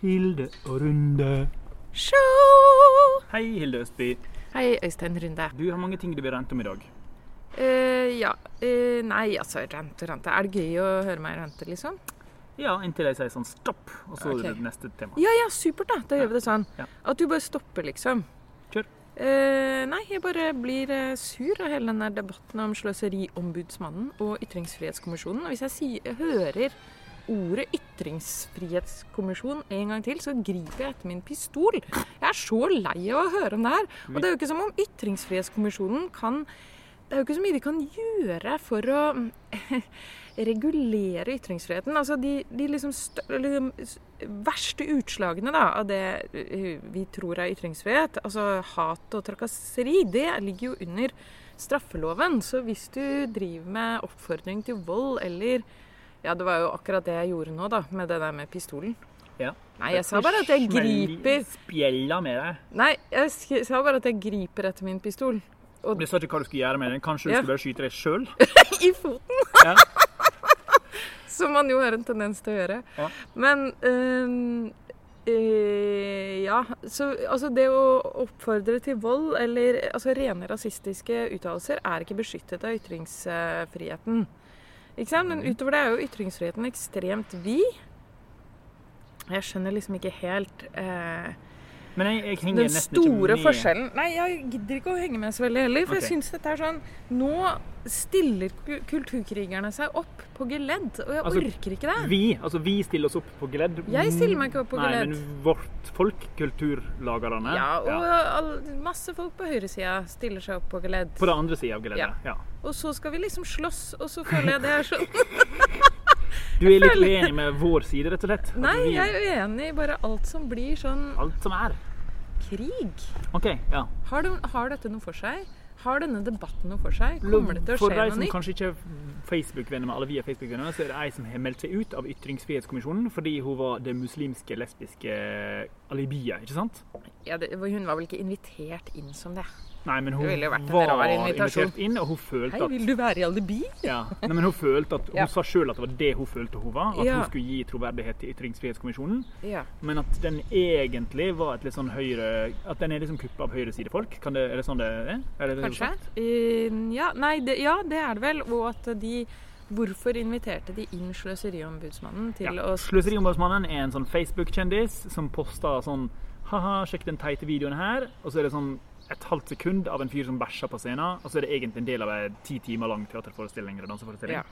Hilde og Runde. Show! Hei, Hilde Østby. Hei, Øystein Runde. Du har mange ting du vil rente om i dag. Eh, ja. eh, nei, altså, rant og rante. Er det gøy å høre meg rante, liksom? Ja, inntil jeg sier sånn stopp, og så Ok. er det neste tema. Ja, ja, supert, da. Da gjør vi det sånn. Ja. At du bare stopper, liksom. Kjør. Eh, nei, jeg bare blir eh, sur av hele den der debatten om Sløseriombudsmannen og Ytringsfrihetskommisjonen. Og hvis jeg sier, hører ordet ytringsfrihetskommisjon en gang til, så griper jeg etter min pistol. Jeg er så lei av å høre om det her. Og det er jo ikke som om Ytringsfrihetskommisjonen kan Det er jo ikke så mye de kan gjøre for å mm, regulere ytringsfriheten. Altså de, de liksom stø, eller de s- verste utslagene da, av det eh, vi tror er ytringsfrihet, altså hat og trakasseri, det ligger jo under straffeloven. Så hvis du driver med oppfordring til vold eller Ja, det var jo akkurat det jeg gjorde nå, da, med det der med pistolen. Ja. Nei, jeg sa bare at jeg griper Spjella med deg. Nei, jeg sk- sa bare at jeg griper etter min pistol. Du sa ikke hva du skulle gjøre med den. Kanskje du Ja. skulle bare skyte deg sjøl? I foten! Ja. Som man jo har en tendens til å gjøre. Ja. Men øhm, eh, Ja. Så altså det å oppfordre til vold eller altså rene rasistiske uttalelser er ikke beskyttet av ytringsfriheten. Ikke sant? Mhm. Men utover det er jo ytringsfriheten ekstremt vid. Jeg skjønner liksom ikke helt eh, Men jeg, jeg henger den nesten ikke store med. forskjellen Nei, jeg gidder ikke å henge med så veldig heller. For Ok. jeg syns dette er sånn Nå stiller ku- kulturkrigerne seg opp på geledd, og jeg Altså, orker ikke det. Vi, altså vi stiller oss opp på gledd. Jeg stiller meg ikke opp på gledd. Nei, men vårt folk, kulturlagerne, Ja, og ja, all, masse folk på høyresida stiller seg opp på geledd. på den andre sida av gleddet. Ja. Ja. Og så skal vi liksom slåss, og så føler jeg det er sånn Du er litt føler- uenig med vår side, rett og slett? At Nei, vi- jeg er uenig i bare alt som blir sånn Alt som er. krig. OK, ja. Har, det, har dette noe for seg? Har denne debatten noe for seg? Kommer det til å For skje de noe som nytt? kanskje ikke er Facebook-venner med alle vi er Facebook-venner, så er det ei som har meldt seg ut av Ytringsfrihetskommisjonen fordi hun var det muslimske lesbiske alibiet, ikke sant? Ja, det, hun var vel ikke invitert inn som det. Nei, men hun Det ville jo vært en var rar invitasjon. invitert inn, og hun følte Hei, at vil du være i alibi? ja. Nei, men Hun følte at, hun Ja. sa sjøl at det var det hun følte hun var, at Ja. hun skulle gi troverdighet til Ytringsfrihetskommisjonen. Ja. Men at den egentlig var et litt sånn høyre At den er liksom kuppa av høyresidefolk? Kan det, er det sånn det er? er det det du sa? Kanskje? Eh, ja, nei, det, ja, det er det vel. Og at de Hvorfor inviterte de inn Sløseriombudsmannen til Ja. å Sløseriombudsmannen er en sånn Facebook-kjendis som poster sånn Haha, sjekk den teite videoen her. Og så er det sånn et halvt sekund av en fyr som bæsjer på scenen. Og så er det egentlig en del av en ti timer lang teaterforestilling eller danseforestilling. Ja.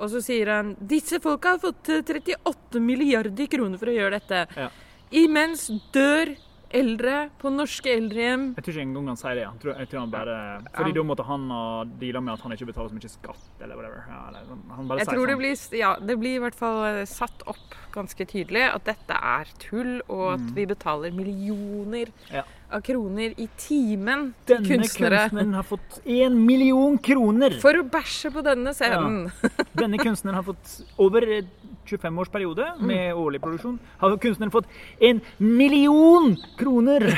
Og så sier han disse folka har fått eh, 38 milliarder kroner for å gjøre dette. Ja. Imens dør eldre på norske eldrehjem. Jeg tror ikke engang han sier det. Han tror, jeg tror han bare Fordi da måtte han ha deala med at han ikke betaler så mye skatt eller whatever. Ja, eller, sånn. han bare Jeg sier tror det sånn. blir, ja, det blir i hvert fall eh, satt opp ganske tydelig at dette er tull, og at vi betaler millioner Mm. Ja. av kroner i timen til Denne kunstnere kunstneren har fått én million kroner! for å bæsje på denne scenen. Denne kunstneren har fått over eh, 25 års periode Mm. med årlig produksjon. Har kunstneren fått en million kroner!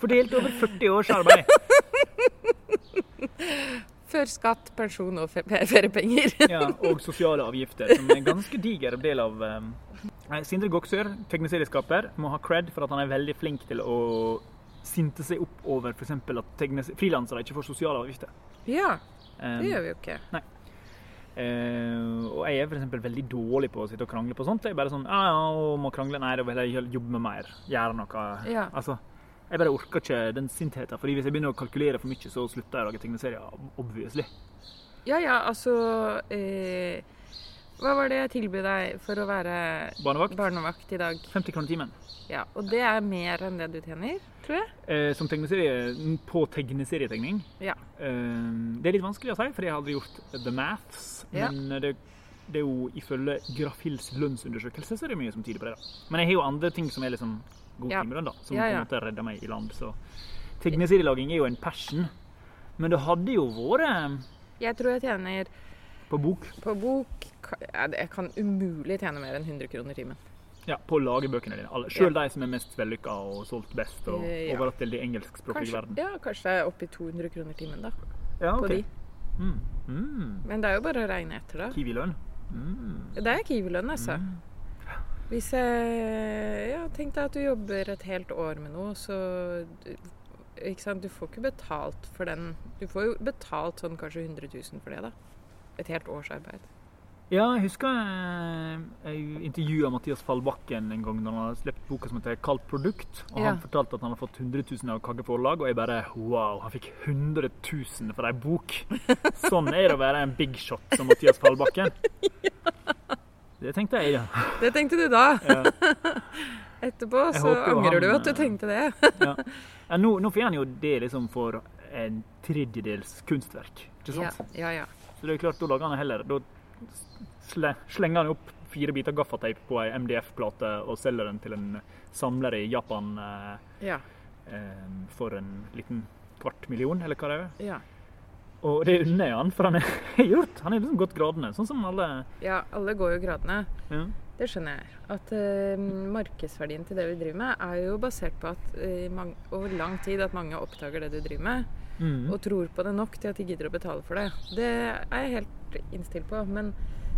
Fordelt over 40 års arbeid. Før skatt, pensjon og fe- fe- feriepenger. Ja, og sosiale avgifter, som er en ganske diger del av eh, Nei, Sindre Goksør, tegneserieskaper, må ha cred for at han er veldig flink til å sinte seg opp over f.eks. at tegnes- frilansere ikke får sosiale avgifter. ja, Eh, det gjør vi jo ikke. Eh, og jeg er for eksempel veldig dårlig på å sitte og krangle på sånt. Jeg er bare sånn ja, ja, å, må krangle. Nei, da vil jeg heller jobbe med mer. Gjøre noe. Ja. Altså, jeg bare orker ikke den sintheten. Fordi hvis jeg begynner å kalkulere for mye, så slutter jeg å lage tegneserier. Obviously. Ja ja, altså eh, Hva var det jeg tilbød deg for å være Barnevakt. barnevakt i dag? 50 kroner timen. Ja, Og det er mer enn det du tjener, tror jeg? Eh, som tegneserie på tegneserietegning. Ja. Eh, det er litt vanskelig å si, for jeg har aldri gjort the maths. Ja. Men eh, det, det er jo ifølge Grafils lønnsundersøkelse så er det mye som tyder på det. da. Men jeg har jo andre ting som er liksom god Ja. timelønn, da. Som Ja, på ja. en måte redder meg i land. Så tegneserielaging er jo en passion. Men det hadde jo vært eh, Jeg tror jeg tjener på bok. på bok ka- ja, det- Jeg kan umulig tjene mer enn 100 kroner timen. Ja, på å lage bøkene dine. Alle- Selv de som er mest vellykka og solgt best og Eh, ja. overalt til de engelskspråklige i Kanskje, verden. ja, kanskje jeg er oppe i 200 kroner timen, da. Ja, På ok. de. Mm. Mm. Men det er jo bare å regne etter, da. Kiwi-lønn. Mm. Det er Kiwi-lønn, altså. Hvis jeg ja, Tenk deg at du jobber et helt år med noe, så du- ikke sant? Du får ikke betalt for den. Du får jo betalt sånn kanskje 100 000 for det, da. Et helt års arbeid. Ja, jeg husker eh, jeg intervjua Mathias Fallbakken en gang da han hadde sluppet boka som heter 'Kaldt produkt'. Og Ja. Han fortalte at han hadde fått 100 000 av Kagge forlag, og jeg bare wow, han fikk 100 000 for ei bok! Sånn er det å være en big shot som Mathias Fallbakken. Det tenkte jeg, ja. Det tenkte du da. ja. Etterpå Jeg så håper jo angrer han, du at du eh, tenkte det. ja nå, nå får han jo det liksom for en tredjedels kunstverk, ikke Ja, sant? ja, ja. Så det er klart, da lager han heller Da sle, slenger han opp fire biter gaffateip på ei MDF-plate og selger den til en samler i Japan eh, ja, eh, for en liten kvart million, eller hva det er. ja. Og det unner jeg han, for han er gjort. Han er liksom gått gradene, sånn som alle Ja, alle går jo gradene. ja. Det skjønner jeg. At eh, markedsverdien til det vi driver med, er jo basert på at eh, mang- over lang tid at mange oppdager det du driver med, Mhm. og tror på det nok til at de gidder å betale for det. Det er jeg helt innstilt på, men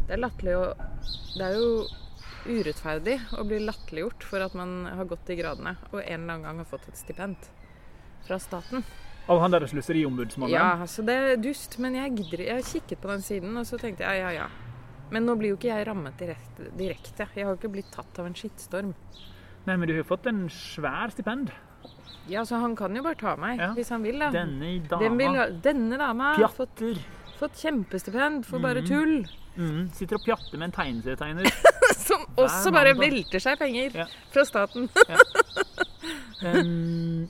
det er latterlig å Det er jo urettferdig å bli latterliggjort for at man har gått de gradene og en eller annen gang har fått et stipend fra staten. Av han der sluseriombudsmannen. Ja, så det er dust, men jeg gidder Jeg kikket på den siden, og så tenkte jeg ja, ja, ja. Men nå blir jo ikke jeg rammet direkte. direkte. Jeg har jo ikke blitt tatt av en skittstorm. Nei, men du har jo fått en svær stipend. Ja, så han kan jo bare ta meg, Ja. hvis han vil, da. Denne dama. Den vil, denne dama har fått, Pjatter. fått kjempestipend for bare Mhm. tull. Mhm. Sitter og pjatter med en tegneserietegner. Som Hver også bare mandag. velter seg penger Ja. fra staten. Um,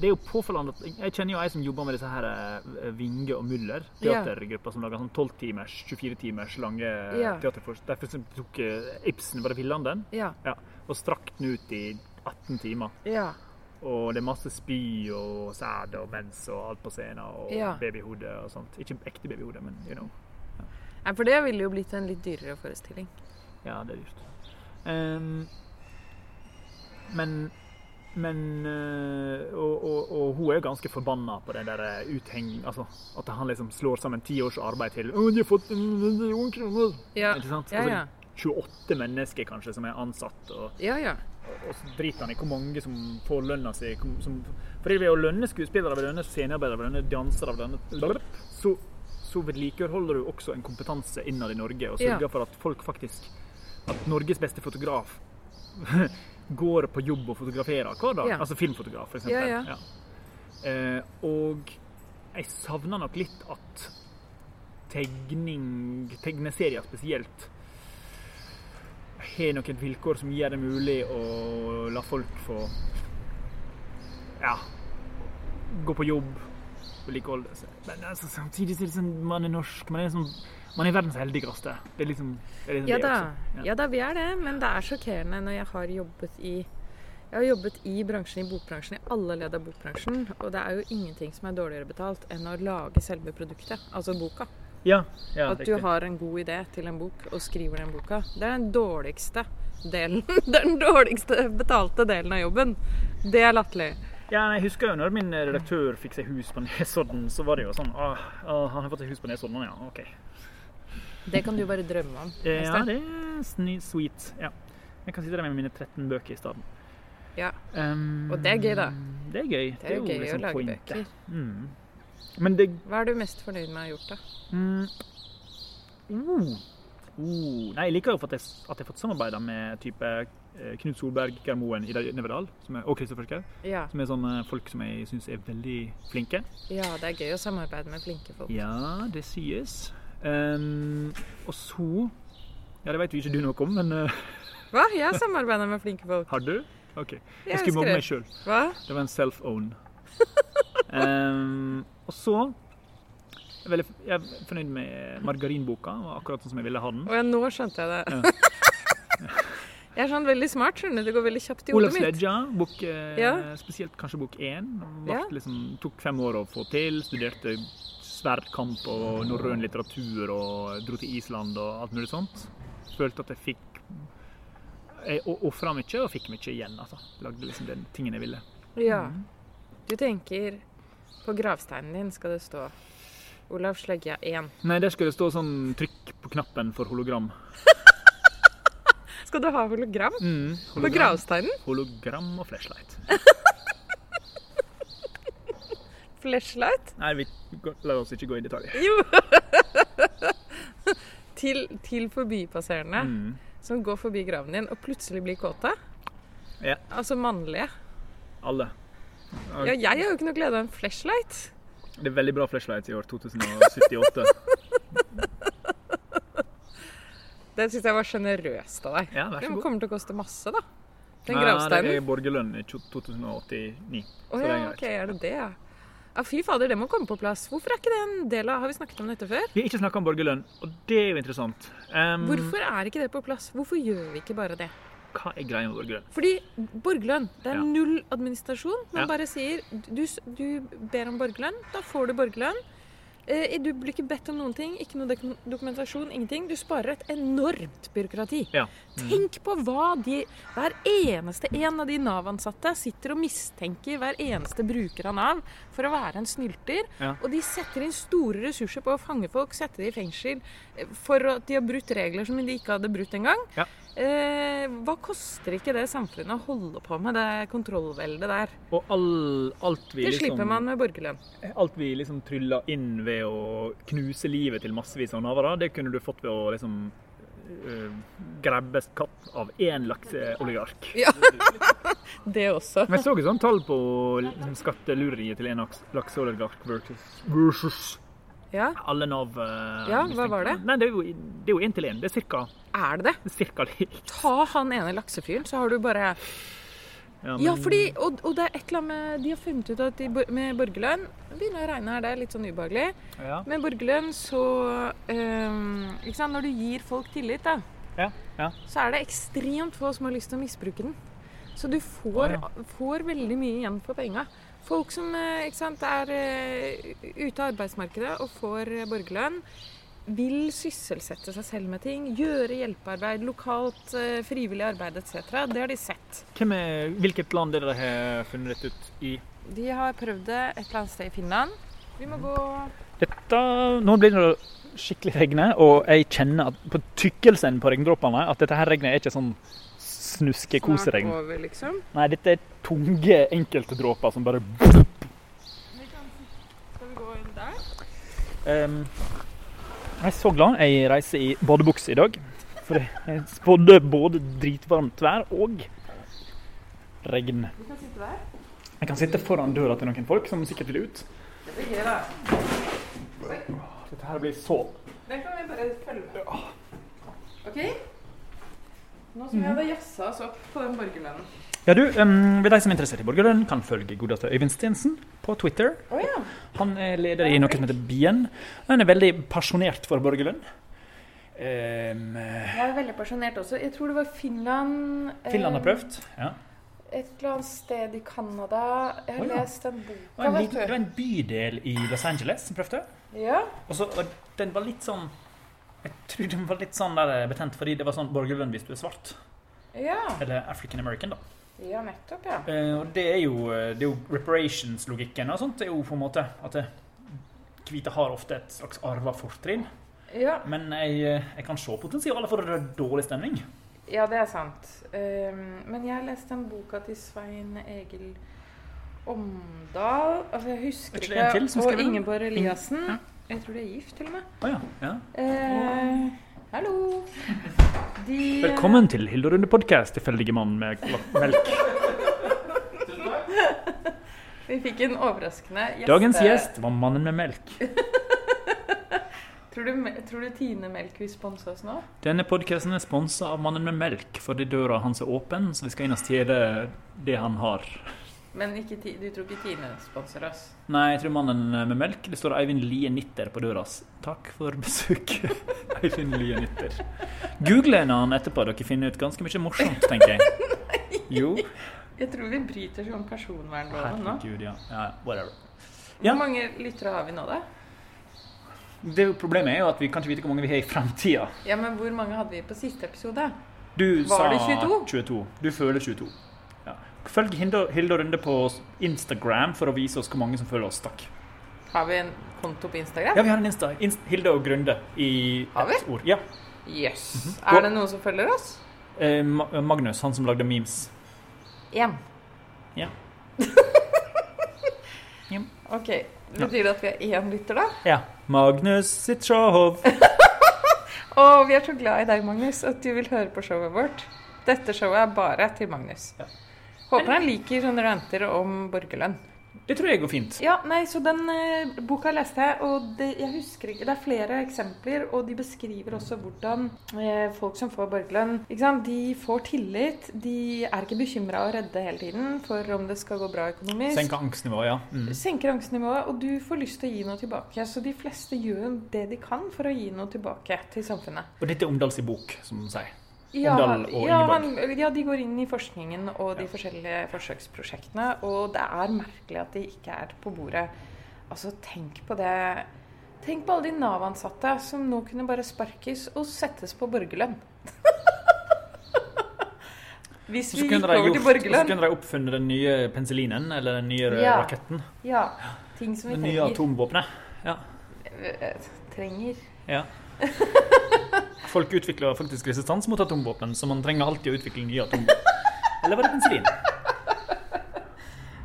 det er jo påfallende at Jeg kjenner jo ei som jobber med disse her eh, Vinge og Muller, Ja. teatergruppa som lager sånn 12-timers, 24-timers lange eh, ja. Ja. teaterforestillinger. Derfor som tok eh, Ibsen Var det Villanden? Ja. Ja. Og strakk den ut i 18 timer. Ja. Og det er masse spy og sæd og mens og alt på scenen, og Ja. babyhode og sånt. Ikke ekte babyhode, men you know. Nei, for det ville jo blitt en litt dyrere forestilling. Ja, det er dyrt. Ehm, men men eh, og, og, og hun er jo ganske forbanna på den der eh, utheng... Altså, at han liksom slår sammen ti års arbeid til Å, de har fått en million kroner! Ja, Ikke sant? Altså, ja, ja. 28 mennesker kanskje som er ansatt, og, ja, ja. og så driter han i hvor mange som får lønna si. hvor- Som, fordi ved å lønne skuespillere, ved å lønne scenearbeidere, ved å lønne dansere, ved å lønne Så, så vedlikeholder du også en kompetanse innad i Norge, og sørger Ja. for at folk faktisk At Norges beste fotograf går på jobb og fotograferer hver dag. Ja. Altså filmfotograf, for eksempel. Ja, ja. Eh, og jeg savner nok litt at tegning, tegneserier spesielt, har noen vilkår som gjør det mulig å la folk få ja, gå på jobb, vedlikeholde seg. Men altså, samtidig så er det sånn, man er norsk, man er, sånn, man er verdens heldigste. Det er liksom det, er liksom Ja det da. også. ja da, vi er det. Men det er sjokkerende når jeg har jobbet i jeg har jobbet i bransjen, i bokbransjen, i alle ledd av bokbransjen. Og det er jo ingenting som er dårligere betalt enn å lage selve produktet, altså boka. Ja, ja, At du riktig. har en god idé til en bok og skriver den boka. Det er den dårligste delen. Det er den dårligste betalte delen av jobben. Det er latterlig. Ja, jeg husker jo når min eh, redaktør fikk seg hus på Nesodden, så var det jo sånn ah, ah, Han har fått seg hus på Nesodden, ja. OK. Eh, Det kan du bare drømme om. Ja, Øystein. det er sny- sweet. Ja. Jeg kan sitte der med mine 13 bøker i stedet. Ja. Um, Og det er gøy, da. Det er liksom gøy. Det er jo gøy å lage pointet. bøker. Mm. Men det Hva er du mest fornøyd med å ha gjort, da? mm, uh, uh. Nei, jeg liker jo at jeg, at jeg har fått samarbeida med type eh, Knut Solberg, Geir Moen, Ida Neverdal som er- og Kristoffer Schau, Ja. som er sånne folk som jeg syns er veldig flinke. ja, det er gøy å samarbeide med flinke folk. Ja, det sies. Ehm, og så Ja, det vet jo ikke du noe om, men eh, Hva? Jeg samarbeider med flinke folk. har du? OK. Jeg Jeg skulle mobbe husker meg det. sjøl. Hva? Det var en self-own. Ehm, og så jeg er, veldig, jeg er fornøyd med margarinboka. Den var akkurat sånn som jeg ville ha den. Og ja, nå skjønte jeg det. jeg er sånn veldig smart, skjønner du. Det går veldig kjapt i hodet Olaf mitt. Sledja, bok, eh, Ja. spesielt kanskje bok én. Vart Ja. Liksom, tok fem år å få til. Studerte sverdkamp og norrøn litteratur og dro til Island og alt mulig sånt. Følte at jeg fikk Jeg ofra mye og fikk mye igjen. altså. Lagde liksom den tingen jeg ville. Ja. Du tenker På gravsteinen din skal det stå Olav Slegja 1. Nei, der skulle det stå sånn trykk på knappen for hologram. Skal du ha hologram? Mm, På gravsteinen? hologram og flashlight. Flashlight? Nei, vi går- la oss ikke gå i detalj. Jo! til, til forbipasserende Mm. som går forbi graven din og plutselig blir kåte. Ja. Altså mannlige. Alle. Ja, jeg har jo ikke noe glede av en flashlight. Det er veldig bra flashlights i år 2078. Det syns jeg var sjenerøst av deg. Ja, vær så Den god. kommer til å koste masse, da. Den Nei, Det gravsteinen. er borgerlønn i 2089. Å så det er ja, greit. ok, er det det, ja. Ja, fy fader, det må komme på plass. Hvorfor er ikke det en del av Har vi snakket om dette før? Vi har ikke snakka om borgerlønn, og det er jo interessant. Em, Hvorfor er ikke det på plass? Hvorfor gjør vi ikke bare det? Hva er greia med borgerlønn? Fordi borgerlønn, det er Ja. null administrasjon. Man Ja. bare sier du, s- du ber om borgerlønn, da får du borgerlønn. Eh, du blir ikke bedt om noen ting, ikke noe dok- dokumentasjon, ingenting. Du sparer et enormt byråkrati. Ja. Mm. Tenk på hva de Hver eneste en av de Nav-ansatte sitter og mistenker hver eneste bruker av Nav for å være en snylter. Ja. Og de setter inn store ressurser på å fange folk, sette de i fengsel eh, for at de har brutt regler som de ikke hadde brutt engang. Ja. Eh, hva koster ikke det samfunnet å holde på med det kontrollveldet der? Og all, alt vi Det slipper liksom man med borgerlønn. Alt vi liksom trylla inn ved å knuse livet til massevis av navere, det kunne du fått ved å liksom øh, grabbe katt av én lakseoligark. Det også. Men jeg så et sånt tall på liksom, skattelureriet til en laks- lakseoligark versus, versus Ja, alle Nav. øh, Ja, hva var det? Nei, det er jo det er jo én til én. Det er cirka, er det det? cirka likt. Ta han ene laksefyren, så har du bare Ja, Ja, men- fordi Og, og det er et eller annet med De har funnet ut at de, bor- med borgerlønn Begynner å regne her, det er litt sånn ubehagelig. ja. Med borgerlønn så eh, Ikke sant, når du gir folk tillit, da, Ja, ja. så er det ekstremt få som har lyst til å misbruke den. Så du får, Ah, får veldig mye igjen for penga. Folk som eh, ikke sant, er eh, ute av arbeidsmarkedet og får eh, borgerlønn, vil sysselsette seg selv med ting. Gjøre hjelpearbeid, lokalt, eh, frivillig arbeid etc. Det har de sett. Hvem er, hvilket land er det dere har funnet dette ut i? De har prøvd det et eller annet sted i Finland. Vi må gå Dette, nå blir det skikkelig regne, og jeg kjenner at på tykkelsen på regndråpene at dette her regnet er ikke sånn snuske-koseregn. over, liksom. Nei, dette er tunge enkeltdråper som bare Vi kan, skal vi gå inn der? Ehm, Jeg er så glad jeg reiser i badebukse i dag. For jeg spådde både dritvarmt vær og regn. Vi kan sitte der. Jeg kan sitte foran døra til noen folk som sikkert vil ut. Det blir gøy, da. Dette her blir så Den kan vi bare følge. OK? Nå som vi hadde jazza oss opp på den borgerlønnen Ja, du, um, ved de som er interessert i borgerlønn, kan følge godeste Øyvind Stensen på Twitter. Å ja. Han er leder i noe som heter Bien. Han er veldig pasjonert for borgerlønn. Ehm, Jeg er veldig pasjonert også. Jeg tror det var Finland eh, Finland har prøvd. Ja. Et eller annet sted i Canada. Jeg har Å ja. lest den Det var boka, en, vet liten, det du. var en bydel i Los Angeles som prøvde. Ja. Og så, og den var litt sånn Jeg tror den var litt sånn der betent, fordi det var sånn borgerlønn hvis du er svart. ja. Eller African American, da. Ja, nettopp, ja. Eh, og det er jo, det er jo reparations-logikken og sånt. Det er jo på en måte at det, hvite har ofte et slags arva fortrinn. Ja, Men jeg, eh, jeg kan se potensialet for dårlig stemning. ja det er sant. Ehm, men jeg har lest den boka til Svein Egil Omdal Altså, jeg Er husker ikke det en til som skrev Og den? Mm. Ingeborg Ja. Eliassen. Jeg tror de er gift, til og med. Å ja, ja. Eh, hallo. De, Velkommen til Hilderunde podcast, tilfeldige mann med gla- melk. eh, Vi fikk en overraskende gjest. Dagens gjest var mannen med melk. Tror du, tror du Tine Melk vil sponse oss nå? Denne podcasten er sponset av mannen med melk, fordi døra hans er åpen, så vi skal inn og stjele det han har. Men ikke, Ti- du tror ikke Tine sponser oss? Nei, jeg tror mannen med melk, det står Eivind Lie Nitter på døra. hans. Takk for besøket, Eivind Lie Nitter. Google en annen etterpå, dere finner ut ganske mye morsomt, tenker jeg. Jo, Jeg tror vi bryter sånn personvernloven nå. herregud, ja. Ja, whatever. Ja. Hvor mange lyttere har vi nå, da? Det er jo- problemet er jo at vi kan ikke vite hvor mange vi har i fremtiden. Ja, men Hvor mange hadde vi på siste episode? Du Var sa det 22? 22. Du føler 22. Ja. Følg Hilde Hilde Runde på Instagram for å vise oss hvor mange som følger oss. Takk. Har vi en konto på Instagram? Ja, vi har en Insta. Inst Hilde og Grunde i Har vi? ett ord. Ja. Yes. Mhm. Gå- Er det noen som følger oss? Eh, Ma- Magnus, han som lagde memes. Én. Ja. Ja. OK. Betyr det at vi har én lytter, da? Ja. Magnus sitt show. Og vi er så glad i deg, Magnus, at du vil høre på showet vårt. Dette showet er bare til Magnus. Ja. Håper han liker sånne ranter om borgerlønn. Det tror jeg går fint. Ja, nei, så den eh, boka leste jeg, og det, jeg husker ikke Det er flere eksempler, og de beskriver også hvordan eh, folk som får borgerlønn, ikke sant, de får tillit. De er ikke bekymra og redde hele tiden for om det skal gå bra økonomisk. Senke angstnivået, ja. Mm. senker angstnivået, og du får lyst til å gi noe tilbake. Så de fleste gjør jo det de kan for å gi noe tilbake til samfunnet. Og dette er Omdals i bok, som de sier. Ja, Omdal og ja, Ingeborg. han- ja, de går inn i forskningen og de Ja. forskjellige forsøksprosjektene, og det er merkelig at de ikke er på bordet. Altså, tenk på det. Tenk på alle de Nav-ansatte som nå kunne bare sparkes og settes på borgerlønn. Hvis Så vi kunne gikk de, gjort, over til og så borgerlønn. kunne de oppfunnet den nye penicillinen, eller den nye Ja. raketten. Ja. Ting som vi Det nye trenger. atomvåpenet. Ja. eh, trenger. ja. Folk utvikler faktisk resistans mot atomvåpen, så man trenger alltid å utvikle nye atomvåpen. Eller var det penicillin?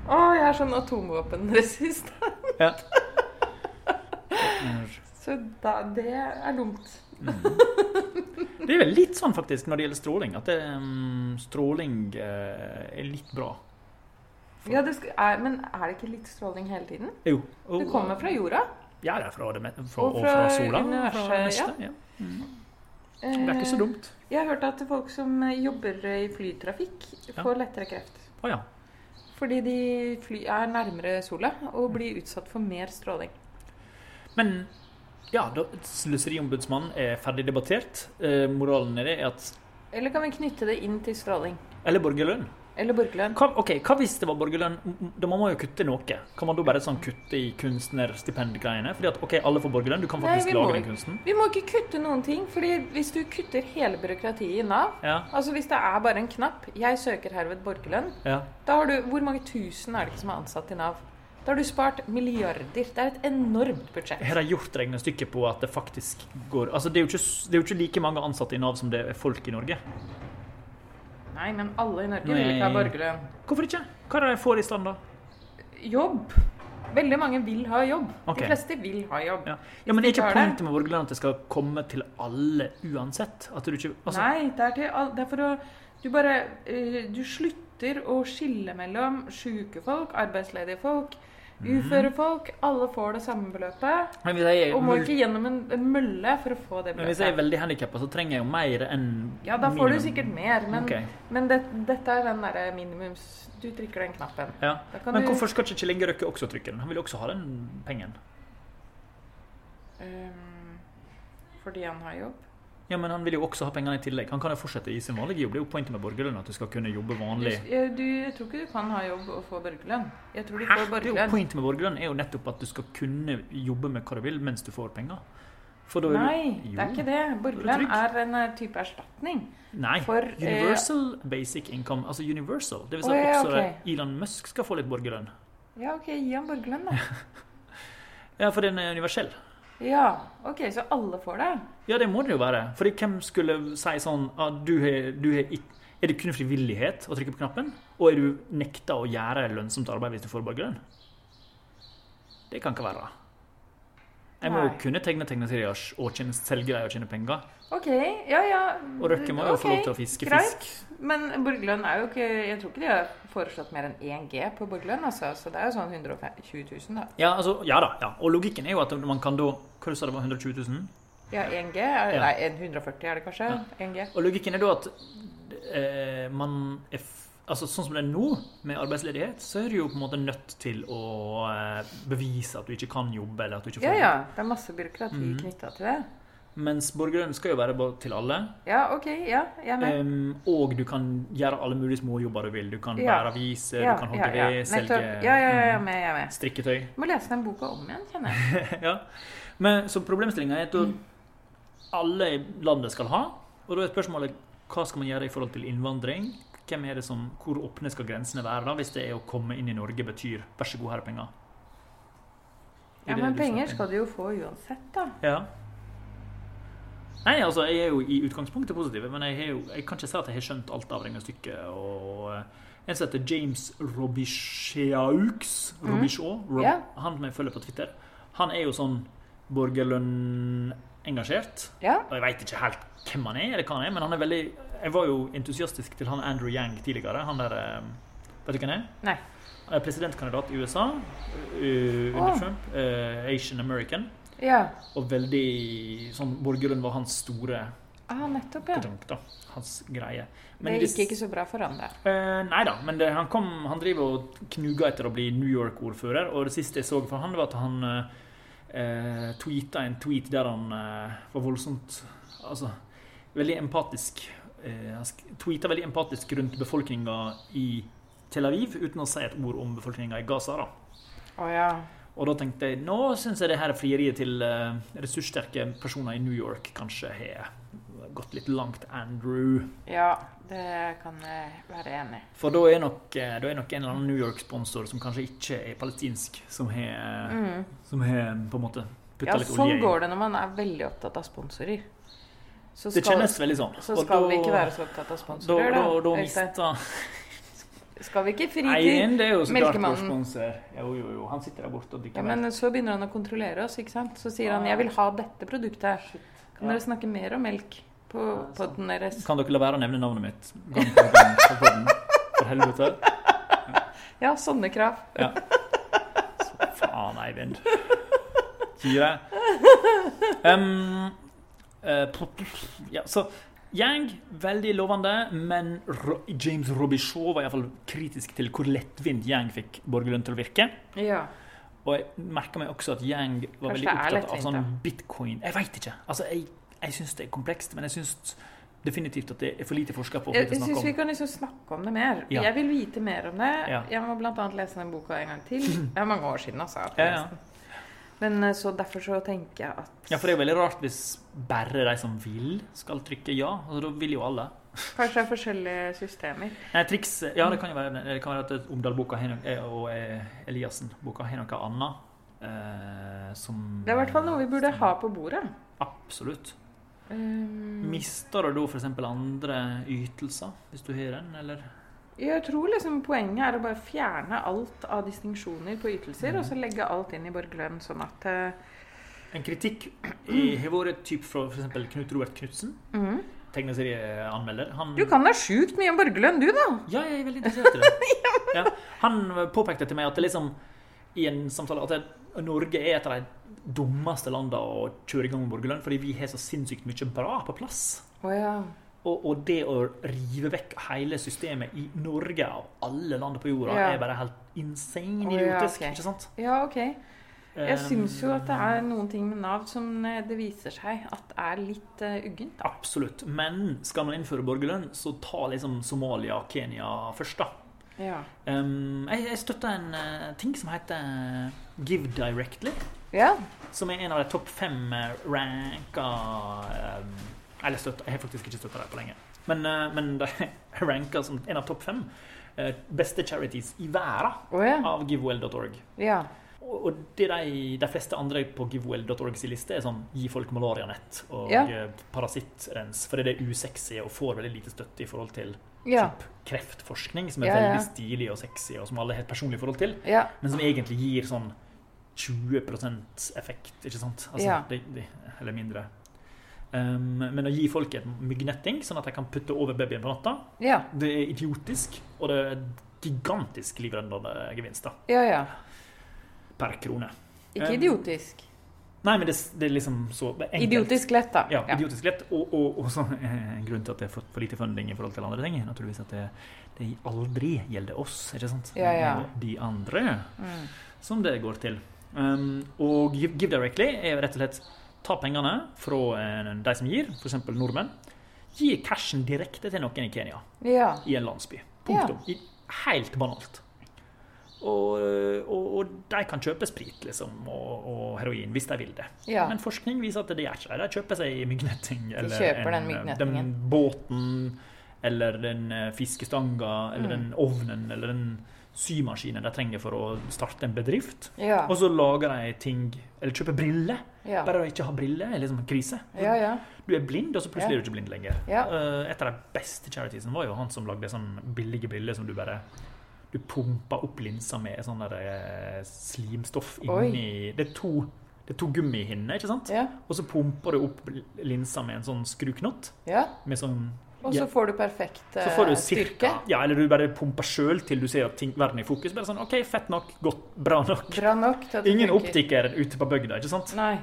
Å, jeg er sånn atomvåpenresist. Ja. Så da, det er dumt. Det er vel litt sånn faktisk når det gjelder stråling, at det, mm, stråling eh, er litt bra. Ja, det sk- er, men er det ikke litt stråling hele tiden? Jo. og- Det kommer fra jorda. Ja, det er fra, det, me- fra, Og og fra fra, sola. og universet, fra det meste, ja. Det er ikke så dumt. Eh, Jeg har hørt at folk som eh, jobber i flytrafikk, Ja. får lettere kreft. Å ja. Fordi de fly, er nærmere sola og blir utsatt for mer stråling. Men ja, da, Sløseriombudsmannen er ferdig debattert. Eh, moralen i det er at Eller kan vi knytte det inn til stråling? Eller borgerlønn. Eller borgerlønn? Hva, ok, hva hvis det var borgerlønn? M- Da må man jo kutte noe. Kan man da bare sånn kutte i kunstnerstipendgreiene? Fordi at ok, alle får borgerlønn. Du kan Nei, faktisk vi må lage den ikke. kunsten. Vi må ikke kutte noen ting, fordi hvis du kutter hele byråkratiet i Nav Ja, Altså Hvis det er bare en knapp 'Jeg søker herved borgerlønn', ja. Da har du, Hvor mange tusen er det ikke som er ansatt i Nav? Da har du spart milliarder. Det er et enormt budsjett. Har de gjort regnestykket på at det faktisk går Altså, det er, jo ikke, s- det er jo ikke like mange ansatte i Nav som det er folk i Norge. Nei, men alle i Norge vil ikke ha Nei. borgerlønn. Hvorfor ikke? Hva er det de får i stand, da? Jobb. Veldig mange vil ha jobb. Ok. De fleste vil ha jobb. Ja, ja men er Hvis de ikke tar det. poenget med borgerlønn at det skal komme til alle uansett? At du ikke altså, Nei, det er, til, all- det er for å Du bare eh, Du slutter å skille mellom sjuke folk, arbeidsledige folk, Mhm. uføre folk. Alle får det samme beløpet. Men hvis jeg er, Og må mul- ikke gjennom en, en mølle for å få det men hvis jeg er beløpet. veldig handikappa, så trenger jeg jo mer enn Ja, da får du minimum. sikkert mer, men, Ok. men det, dette er den derre minimums Du trykker den knappen. ja. Da kan Men du- hvorfor skal ikke Kjell Inge Røkke også trykke den? Han vil jo også ha den pengen. Ehm, fordi han har jobb. Ja, men han vil jo også ha pengene i tillegg. Han kan jo fortsette i sin vanlige jobb. Det er jo poenget med borgerlønn at du skal kunne jobbe Du, vanlig. ja, du, jeg tror ikke du kan ha jobb og få borgerlønn. Jeg tror du Hæ? får Det er jo borgerlønn. poenget med borgerlønn er jo nettopp at du skal kunne jobbe med hva du vil mens du får penger. For da er du- Nei, det er Jo. ikke det. Borgerlønn trygg. er en eh, type erstatning. Nei. For, eh, universal basic income, altså universal. Det vil si Å, at ja, også ok. Elon Musk skal få litt borgerlønn. Ja, OK, gi ham borgerlønn, da. Ja, for den er universell. Ja, OK, så alle får det. Ja, det må det jo være. For hvem skulle si sånn at du har, du har ikk- Er det kun frivillighet å trykke på knappen? Og er du nekta å gjøre lønnsomt arbeid hvis du får borgerlønn? Det kan ikke være. Jeg må jo Nei. kunne tegne tegneserier og tjene- selge dem og tjene penger. OK, ja ja. Og Røkke må jo få ok, lov til å fiske greit. fisk. Men borgerlønn er jo ikke Jeg tror ikke de har foreslått mer enn 1 G på borgerlønn, altså. Så det er jo sånn 120 000, da. Ja, altså, ja da. Ja. Og logikken er jo at man kan da Hva du sa det var 120 000? Ja, 1 G? Er, Ja. Nei, 140 er det kanskje? 1 G. Og logikken er da at eh, man er f Altså Sånn som det er nå, med arbeidsledighet, så er du jo på en måte nødt til å eh, bevise at du ikke kan jobbe, eller at du ikke får Ja ja, det er masse byråkrati Mhm. knyttet knytta til det. jobb. Mens borgerlønn skal jo være bare til alle. Ja, OK. Ja, jeg er med. Em, og du kan gjøre alle mulige småjobber du vil. Du kan Ja. bære aviser, ja, du kan ja, hogge ja. ved, selge Nettopp. Ja, ja, ja, jeg er med. Jeg er mm, med. strikketøy. Må lese den boka om igjen, kjenner jeg. ja. Men, så problemstillinga er at Mm. da alle i landet skal ha. Og da er spørsmålet hva skal man gjøre i forhold til innvandring? Hvem er det som, Hvor åpne skal grensene være da, hvis det er å komme inn i Norge betyr vær så god, her er penger? Er Ja, det Men det du penger snakker om? skal du jo få uansett, da. Ja. Nei, altså, jeg er jo i utgangspunktet positiv, men jeg, har jo, jeg kan ikke si at jeg har skjønt alt av regnestykket. Og eh, en som heter James Robichaux, Robichaux Rob, Mhm. Ja. han som jeg følger på Twitter, han er jo sånn borgerlønn-engasjert. Ja. Og jeg veit ikke helt hvem han er, eller hva han er, men han er veldig Jeg var jo entusiastisk til han Andrew Yang tidligere. Han der eh, Vet du hvem han er? Nei. Han er presidentkandidat i USA eh, under Å. Trump. eh, Asian American. Ja. Og veldig sånn Borgerlund var hans store Ah, nettopp, ja. drunk, da. Hans greie. Det hvis- gikk ikke så bra for han der. Eh, nei da, men det, han, kom, han driver og knuger etter å bli New York-ordfører, og det siste jeg så fra han, var at han eh, tweeta en tweet der han eh, var voldsomt Altså veldig empatisk. Eh, han sk- tweeta veldig empatisk rundt befolkninga i Tel Aviv, uten å si et ord om befolkninga i Gaza. da. Å ja. Og da tenkte jeg nå syns jeg det her frieriet til eh, ressurssterke personer i New York kanskje har gått litt langt, Andrew. Ja, det kan jeg være enig i. For da er nok, eh, da er nok en eller annen New York-sponsor som kanskje ikke er palestinsk, som har Mm. som har på en måte putta Ja, litt olje sånn i. går det når man er veldig opptatt av sponsorer. Så Det skal, kjennes veldig sånn. så Og skal da- vi ikke være så opptatt av da, sponsorer, da, da. da, Øystein. mista Skal vi ikke fri til Eirin, det er jo så klart vår Melkemannen. sponsor. Jo, jo, jo. Han sitter der borte og Ja, drikker melk. men så begynner han å kontrollere oss, ikke sant? Så sier han 'jeg vil ha dette produktet'. Kan Ja. dere snakke mer om melk på podden deres? Kan dere la være å nevne navnet mitt gang på gang på podden? For helvete. Ja, sånne krav. Faen, Eivind. Gi deg. Ehm, eh, pl- pl- ja, så Yang, veldig lovende, men Ro James Robichaud var iallfall kritisk til hvor lettvint Yang fikk borgerlønn til å virke. Ja. Og jeg merka meg også at Yang var Kanskje veldig det er opptatt av lettvint, sånn bitcoin Jeg veit ikke. Altså, jeg, jeg syns det er komplekst, men jeg syns definitivt at det er for lite forska på. for Jeg, lite jeg snakk syns om. vi kan liksom snakke om det mer. Ja. Jeg vil vite mer om det. Ja. Jeg må bl.a. lese den boka en gang til. Det er mange år siden, altså. at jeg Ja, ja. leste den. Men eh, så derfor så tenker jeg at ja, for det er veldig rart hvis bare de som vil, skal trykke ja. Altså, da vil jo alle. kanskje det er forskjellige systemer. Nei, triks Ja, det kan jo være, det kan være at Omdal-boka har noe- og eh, Eliassen-boka har noe annet. Eh, som Det er i hvert fall noe vi burde ha på bordet. Absolutt. Um, Mister du da f.eks. andre ytelser hvis du har den, eller? Jeg tror liksom poenget er å bare fjerne alt av distinksjoner på Mhm. ytelser, og så legge alt inn i borgerlønn, sånn at eh, En kritikk i- har vært typ fra f.eks. Knut Robert Knutsen, tegneserieanmelder. Han, Mhm. Du kan da sjukt mye om borgerlønn, du, da! Ja, jeg er veldig interessert i det. ja. Han påpekte til meg at det liksom i en samtale at det, Norge er et av de dummeste landene å kjøre i gang med borgerlønn, fordi vi har så sinnssykt mye bra på plass. Å ja. Og, og det å rive vekk hele systemet i Norge og alle land på jorda Ja. er bare helt insane Å, ja, idiotisk. ok. Ikke sant? Ja, OK. Jeg Um, syns jo at det er noen ting med Nav som eh, det viser seg at er litt eh, uggent. da. Absolutt. Men skal man innføre borgerlønn, så ta liksom Somalia og Kenya først, da. Ja. Um, jeg, jeg støtter en eh, ting som heter Give Directly. ja. Som er en av de topp fem eh, ranka um, Eller støtta Jeg har faktisk ikke støtta dem på lenge. Men, eh, men de er ranka som en av topp fem eh, beste charities i verden Å ja. av givewell.org. ja. Og og det de, de fleste andre på givewell.org sin liste er sånn gi folk malarianett og Ja. eh, parasittrens, fordi det er usexy og får veldig lite støtte i forhold til Ja. typ kreftforskning, som er Ja, ja. veldig stilig og sexy, og som alle har et personlig forhold til, ja. men som egentlig gir sånn 20 effekt, ikke sant? Altså, Ja. det- det- eller mindre. Um, men å gi folk et myggnetting, sånn at de kan putte over babyen på natta, Ja. det er idiotisk, og det er gigantisk livreddende gevinst da, Ja, ja. per krone. Ikke Um, idiotisk. Nei, men det, det er liksom så enkelt. Idiotisk lett, da. Ja, idiotisk lett. Og, og, og så eh, en grunn til at det er for, for lite funding i forhold til andre ting, er naturligvis at det, det aldri gjelder oss, ikke sant? Ja, ja. Det er De andre Mm. som det går til. Um, og Give Give Directly er rett og slett ta pengene fra eh, de som gir, f.eks. nordmenn. Gi cashen direkte til noen i Kenya, Ja. i en landsby. Punktum. I- Helt banalt. Og, eh, og, og de kan kjøpe sprit liksom, og, og heroin hvis de vil det. ja. Men forskning viser at det gjør ikke det. De kjøper seg myggnetting. eller kjøper den eh, myggnettingen. Mm. den båten, eller den eh, fiskestanga, eller den ovnen, eller den symaskiner de trenger for å starte en bedrift. Ja. Og så lager de ting Eller kjøper briller. Ja. Bare å ikke ha briller er liksom en krise. Ja, ja. Du er blind, og så plutselig er du ikke blind lenger. Ja. Eh, Et av de beste charitiesene var jo han som lagde sånn billige briller som du bare Du pumpa opp linsa med sånn der eh, slimstoff Oi. inni Det er to, det er to gummihinner, ikke sant? ja, Og så pumper du opp linsa med en sånn skruknott. ja. Med sånn Og så får du perfekt eh, så får du styrke. cirka, ja, eller du bare pumper sjøl til du ser at ting, verden er i fokus. Bare sånn OK, fett nok, godt, bra nok. Bra nok til at det Ingen funker. optiker ute på bygda, ikke sant? Nei.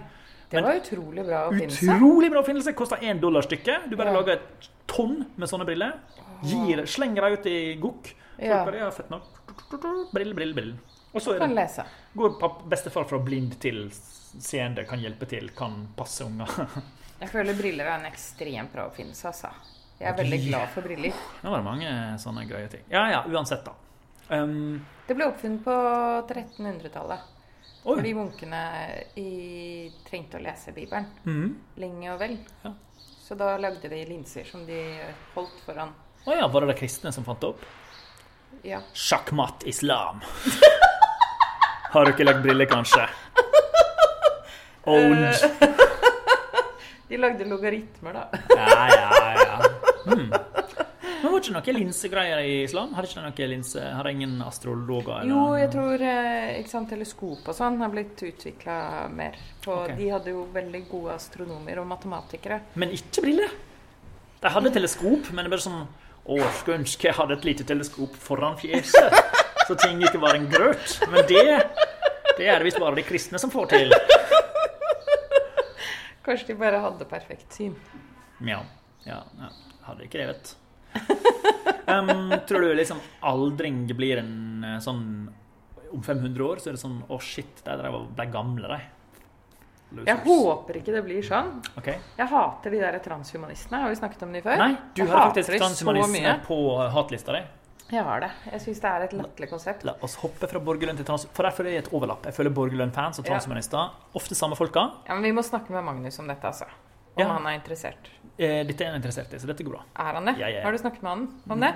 Det Men- var utrolig bra oppfinnelse. Utrolig bra oppfinnelse! Koster én dollar stykket. Du bare Ja. lager et tonn med sånne briller. Gir, slenger dem ut i gokk. Folk Ja. bare ja, fett nok. Brill, brill, brill. Og så er Kan det, lese. går papp, bestefar fra blind til seende, kan hjelpe til, kan passe unger. Jeg føler briller er en ekstremt bra oppfinnelse, altså. Jeg er veldig glad for briller. Nå var det mange sånne gøye ting. Ja ja, uansett, da. Um, Det ble oppfunnet på 1300-tallet. Oi. Fordi munkene i, trengte å lese Bibelen mhm. lenge og vel. Ja. Så da lagde de linser som de holdt foran. Å ja, var det de kristne som fant det opp? Ja. Sjakkmatt islam. Har du ikke lagt briller, kanskje? Eh, Owned. De lagde logaritmer, da. Ja, ja, ja. Hmm. Men var det ikke noe linsegreier i islam? Har ikke noe linse? Har det ingen astrologer? eller- Jo, jeg tror eh, ikke sant, teleskop og sånn har blitt utvikla mer. Og Ok. De hadde jo veldig gode astronomer og matematikere. Men ikke briller. De hadde teleskop, men det er bare sånn Å, skulle ønske jeg hadde et lite teleskop foran fjeset, så ting ikke var en grøt. Men det, det er det visst bare de kristne som får til. Kanskje de bare hadde perfekt syn. Ja. ja, ja. Hadde ikke det, vet um, Tror du liksom aldring blir en eh, sånn Om 500 år så er det sånn Å, shit, de drev og ble gamle, de. Losers. Jeg håper ikke det blir sånn. Ok. Jeg hater de der transhumanistene. Har vi snakket om de før? Nei, du Jeg har hater faktisk de så transhumanisme mye. på hatlista di. Jeg har det. Jeg syns det er et latterlig konsept. La oss hoppe fra borgerlønn til trans... For der føler jeg et overlapp. Jeg føler borgerlønn-fans og Ja. transhumanister ofte samme folka. Ja, men Vi må snakke med Magnus om dette, altså. Om Ja. han er interessert. Eh, dette er jeg interessert i, så dette går bra. Er han det? Ja, ja, ja. Mm. Har du snakket med han om det?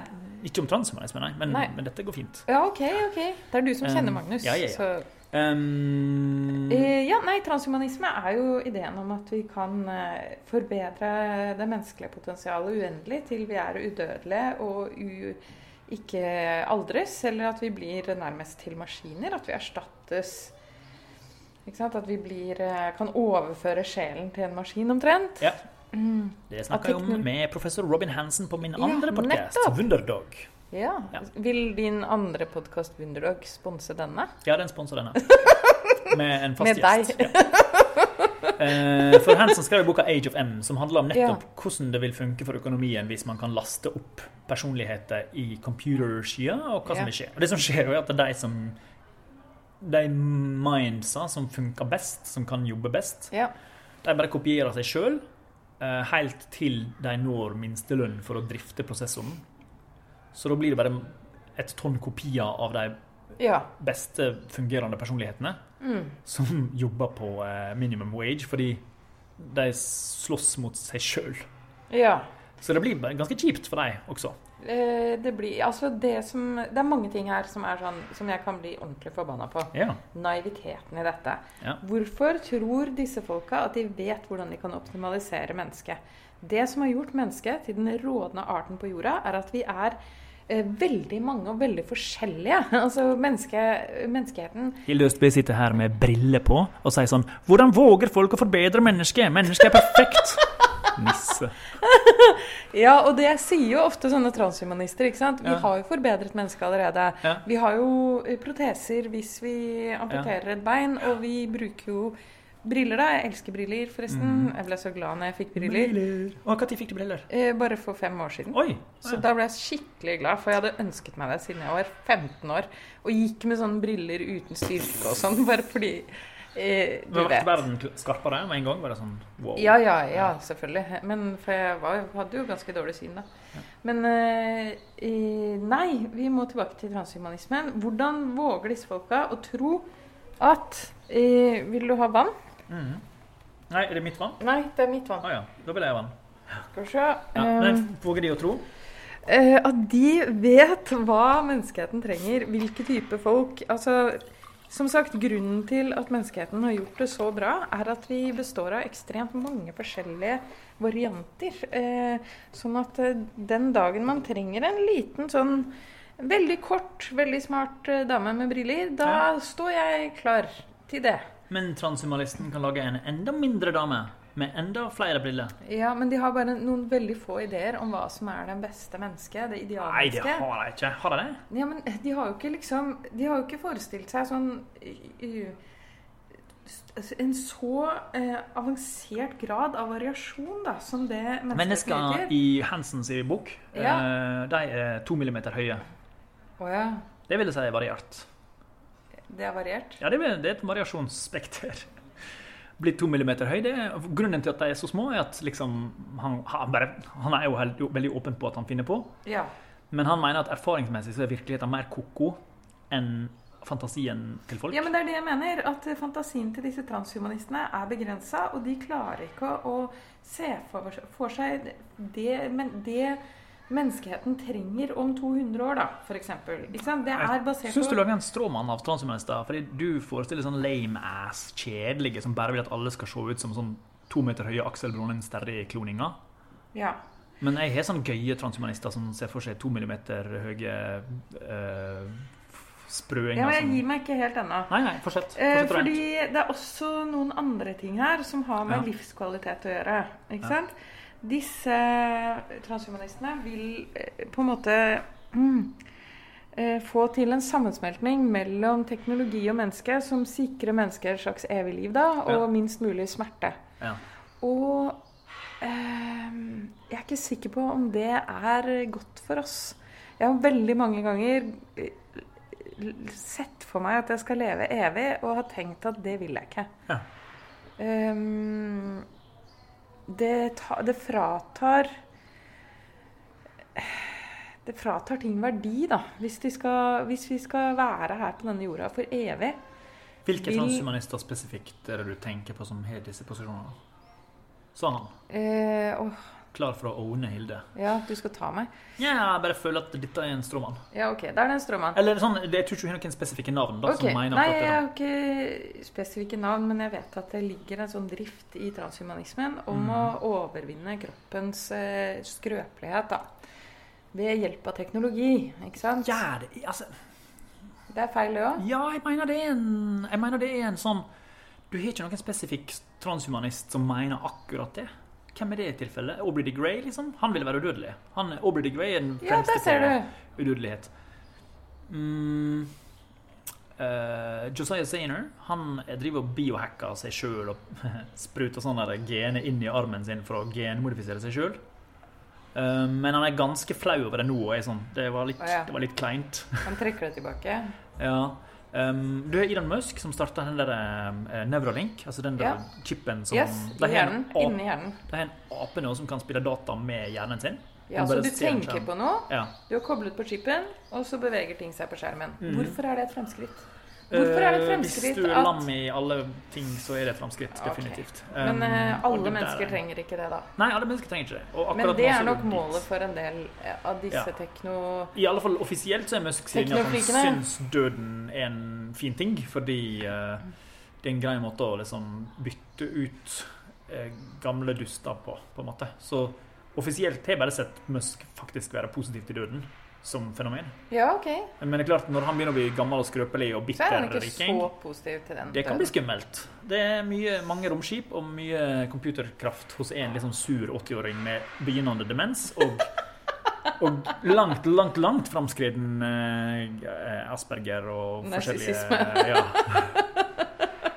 Ikke om transhumanisme, nei, men, Nei. men dette går fint. Ja, OK, OK. Det er du som Um, kjenner Magnus. ja, ja, ja. Så, Um, eh, ja, nei, transhumanisme er jo ideen om at vi kan eh, forbedre det menneskelige potensialet uendelig til vi er udødelige og u ikke aldres, eller at vi blir nærmest til maskiner. At vi erstattes ikke sant? At vi blir, eh, kan overføre sjelen til en maskin, omtrent. Ja. Det snakka jeg teknol- om med professor Robin Hansen på min Ja, andre podcast, nettopp. Wunderdog. Ja. Ja. Vil din andre podkast Wunderdog sponse denne? Ja, den sponser denne. Med en Med fast gjest. Ja. Eh, For Hansen skrev jo boka 'Age of M', som handler om nettopp hvordan det vil funke for økonomien hvis man kan laste opp personligheter i computerskya, og hva som Ja. vil skje. Og det som skjer, jo er at de som de mindsa som funker best, som kan jobbe best, Ja. De bare kopierer seg sjøl, helt til de når minstelønn for å drifte prosessoren. Så da blir det bare et tonn kopier av de ja. Mm. beste fungerende personlighetene som jobber på eh, minimum wage, fordi de slåss mot seg sjøl. Ja. Så det blir bare ganske kjipt for dem også. Eh, Det blir Altså, det som Det er mange ting her som er sånn Som jeg kan bli ordentlig forbanna på. Ja. Naiviteten i dette. Ja. Hvorfor tror disse folka at de vet hvordan de kan optimalisere mennesket? Det som har gjort mennesket til den rådende arten på jorda, er at vi er eh, veldig mange og veldig forskjellige. Altså menneske, menneskeheten Hilde Østby sitter her med briller på og sier sånn Hvordan våger folk å forbedre mennesket? Mennesket er perfekt! Nisse. Ja, og det sier jo ofte sånne transhumanister. ikke sant? Vi Ja. har jo forbedret mennesket allerede. Ja. Vi har jo eh, proteser hvis vi amputerer et bein, og vi bruker jo briller, da. Jeg elsker briller, forresten. Mhm. Jeg ble så glad når jeg fikk briller. Og når fikk du briller? Eh, bare for fem år siden. Oi! Så da ble jeg skikkelig glad, for jeg hadde ønsket meg det siden jeg var 15 år. Og gikk med sånne briller uten styrke og sånn, bare fordi eh, Du Men ble vet. verden kl- skarpere med en gang? Var det sånn wow? Ja, ja, ja, selvfølgelig. Men for jeg var, hadde jo ganske dårlig syn, da. Men eh, eh, nei, vi må tilbake til transhumanismen. Hvordan våger disse folka å tro at eh, Vil du ha vann? Mhm. Nei, er det mitt vann? Nei, det er mitt Å vann. ja, da vil jeg ha vann. Skal vi se. Ja. Eh, Men våger de å tro? Eh, at de vet hva menneskeheten trenger, hvilke type folk. Altså, som sagt, Grunnen til at menneskeheten har gjort det så bra, er at vi består av ekstremt mange forskjellige varianter. Eh, sånn at eh, den dagen man trenger en liten sånn veldig kort, veldig smart eh, dame med briller, da Ja. står jeg klar til det. Men transhumanisten kan lage en enda mindre dame med enda flere briller. Ja, Men de har bare noen veldig få ideer om hva som er den beste mennesket. Det Nei, det idealmennesket. har jeg ikke. Har jeg det? Ja, men eh, de har jo ikke liksom De har jo ikke forestilt seg sånn eh, eh, En så eh, avansert grad av variasjon, da, som det mennesket Mennesker utgjør. i Hansens bok, eh, de er to millimeter høye. Å ja. Det vil jeg si er variert. Det er variert. Ja, det er, det er et variasjonsspekter. Blitt to millimeter høy. Det er, grunnen til at de er så små, er at liksom, han, han, bare, han er jo helt, jo, veldig åpen på at han finner på. Ja. Men han mener at erfaringsmessig så er virkeligheten mer koko enn fantasien til folk. ja, men det er det jeg mener. At eh, fantasien til disse transhumanistene er begrensa, og de klarer ikke å se for, for seg det, men det menneskeheten trenger om 200 år, da, f.eks. Ikke sant? Det er basert Syns du på lager en stråmann av transhumanister? Fordi du forestiller sånn lame-ass, kjedelige, som bare vil at alle skal se ut som sånn to meter høye Aksel Brolin Sterri-kloninger. ja. Men jeg har sånn gøye transhumanister som ser for seg to millimeter høye eh, sprøinger. ja, men jeg som- gir meg ikke helt ennå. Nei, nei, fortsett. Eh, fortsett å fordi det er også noen andre ting her som har med Ja. livskvalitet å gjøre. Ikke Ja. sant? Disse transhumanistene vil eh, på en måte mm, eh, få til en sammensmeltning mellom teknologi og menneske som sikrer mennesket et slags evig liv da, og Ja. minst mulig smerte. rante. Ja. Og eh, jeg er ikke sikker på om det er godt for oss. Jeg har veldig mange ganger eh, l- sett for meg at jeg skal leve evig, og har tenkt at det vil jeg ikke. Ja. Ehm, det, ta, det fratar Det fratar ting verdi, da. Hvis, de skal, hvis vi skal være her på denne jorda for evig. Hvilke Vil- transhumanister spesifikt er det du tenker på som har disse posisjonene? Sa han. Eh, åh, Klar for å owne Hilde. ja, du skal ta meg. Ja, jeg bare føler at dette er en stråmann. Ja, OK. Da er det en stråmann. Eller sånn, det- jeg tror ikke hun har noen spesifikke navn. da, Ok, som mener Nei, akkurat jeg det har ikke spesifikke navn, men jeg vet at det ligger en sånn drift i transhumanismen om Mhm. å overvinne kroppens eh, skrøpelighet da. ved hjelp av teknologi. ikke sant? da. Ja, det, altså, Det er feil, det òg. ja, jeg mener det er en Jeg mener det er en sånn Du har ikke noen spesifikk transhumanist som mener akkurat det. Hvem er det i tilfelle? Aubrey de Grey, liksom? Han ville være udødelig. Han, Aubrey de Grey er den Ja, fremste der ser til- du. udødelighet. Mm, eh, Josiah Sainer han driver og biohacker seg sjøl og spruter sånne der gener inn i armen sin for å genmodifisere seg sjøl. men han er ganske flau over det nå. Og er sånn, det, var litt, Å, ja. det var litt kleint. Han trekker det tilbake. ja. Um, du har Elon Musk som starta den der eh, Neuralink, altså den der Ja. chipen som Yes, de i har en hjernen. ap- Inni hjernen. de har en ape nå som kan spille data med hjernen sin. Ja, Han Så bare du ser en tenker skjerm. på noe, Ja. du har koblet på chipen, og så beveger ting seg på skjermen. Mhm. Hvorfor er det et fremskritt? Hvorfor er det et Eh, Hvis fremskritt du er at- lam i alle ting, så er det et fremskritt. Ok. Definitivt. Men Um, eh, og det alle der- mennesker trenger ikke det, da. Nei, alle mennesker trenger ikke det. Og akkurat Men nå det så er det nok dit. målet for en del eh, av disse Ja. tekno... I alle fall offisielt så er Musk sin at han Teknofrikene. syns døden er en fin ting, fordi eh, det er en grei måte å liksom bytte ut eh, gamle duster på, på en måte. Så offisielt har jeg bare sett Musk faktisk være positiv til døden som fenomen. Ja, OK. Men det er klart, når han begynner å bli gammel og skrøpelig og Så er han bitter ikke riking så positiv til den Det kan døden. bli skummelt. Det er mye, mange romskip og mye computerkraft hos en liksom sur 80-åring med begynnende demens og, og langt, langt, langt framskreden eh, asperger og forskjellige Narsissisme. ja.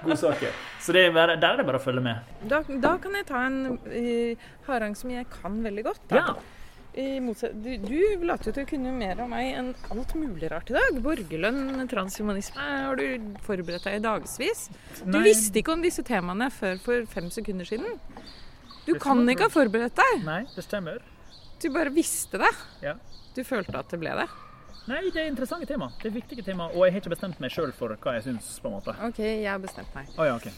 Gode saker. Så det er bare, der er det bare å følge med. Da, da kan jeg ta en uh, harang som jeg kan veldig godt. da. Ja. I motset, du, du later jo til å kunne mer om meg enn alt mulig rart i dag. Borgerlønn, transhumanisme har du forberedt deg i dagevis. Du Nei. visste ikke om disse temaene før for fem sekunder siden. Du Det kan stemmer. ikke ha forberedt deg. Nei, det stemmer. Du bare visste det. Ja. Du følte at det ble det. Nei, det er interessante tema. Det er viktige tema, og jeg har ikke bestemt meg sjøl for hva jeg syns, på en måte. OK, jeg har bestemt meg. Å ja, OK.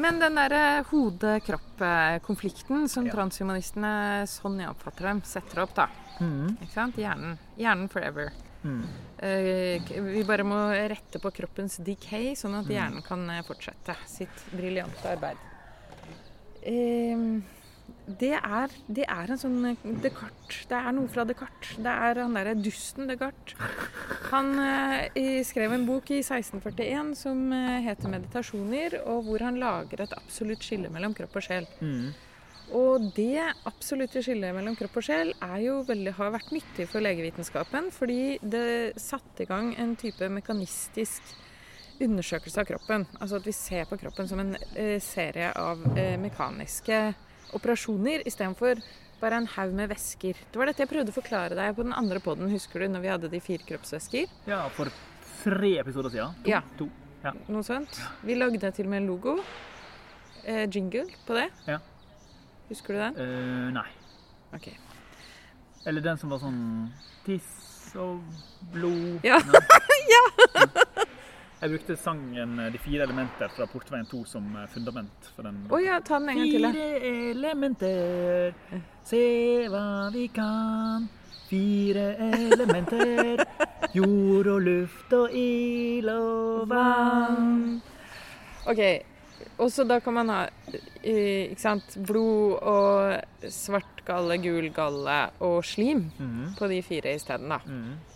Men den derre hode-kropp-konflikten som Ja. transhumanistene, sånn jeg oppfatter dem, setter opp, da. Mhm. Ikke sant? Hjernen. Hjernen forever. Mhm. Eh, k- Vi bare må rette på kroppens decay, sånn at hjernen kan eh, fortsette sitt briljante arbeid. Ehm, Det er, det er en sånn eh, Descartes. Det er noe fra Descartes. Det er han derre dusten Descartes. Han eh, i- skrev en bok i 1641 som eh, heter 'Meditasjoner', og hvor han lager et absolutt skille mellom kropp og sjel. Mhm. Og det absolutte skillet mellom kropp og sjel er jo veldig, har vært nyttig for legevitenskapen, fordi det satte i gang en type mekanistisk undersøkelse av kroppen. Altså at vi ser på kroppen som en eh, serie av eh, mekaniske operasjoner istedenfor bare en haug med væsker. Det var dette jeg prøvde å forklare deg på den andre poden, husker du, når vi hadde de fire kroppsvæsker? Ja, for tre episoder siden. To. Ja. to. Ja. noe sånt. Vi lagde til og med en logo, eh, jingle, på det. Ja. Husker du den? Eh, nei. Ok. Eller den som var sånn tiss og blod Ja. Nei. Jeg brukte sangen eh, 'De fire elementer' fra Portveien 2 som eh, fundament for den. Å ja, ta den en gang til. da. Fire elementer, se hva vi kan. Fire elementer, jord og luft og ild og vann. Ok, og så da kan man ha eh, ikke sant, blod og svart galle, gul galle og slim Mhm, på de fire isteden, da. mhm.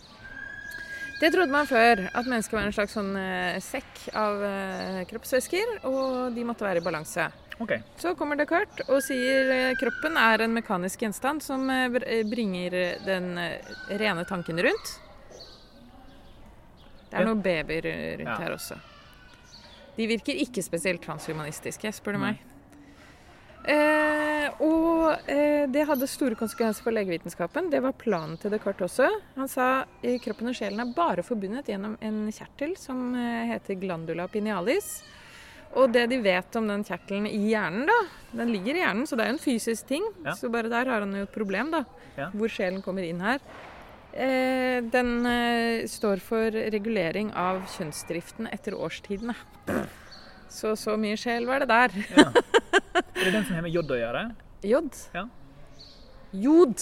Det trodde man før, at mennesket var en slags sånn eh, sekk av eh, kroppsvæsker, og de måtte være i balanse. OK. Så kommer Descartes og sier eh, kroppen er en mekanisk gjenstand som eh, br- eh, bringer den eh, rene tanken rundt. Det er Ja. noen babyer eh, rundt Ja. her også. De virker ikke spesielt transhumanistiske, spør du Nei. meg. Eh, og eh, det hadde store konsekvenser for legevitenskapen. Det var planen til Descartes også. Han sa eh, kroppen og sjelen er bare forbundet gjennom en kjertel som eh, heter glandula pinealis. Og det de vet om den kjertelen i hjernen, da Den ligger i hjernen, så det er jo en fysisk ting. Ja. Så bare der har han jo et problem, da. Ja. Hvor sjelen kommer inn her. Eh, den eh, står for regulering av kjønnsdriften etter årstidene. Så så mye sjel var det der. Ja. Er det den som har med jod å gjøre? Jod. Ja. Jod.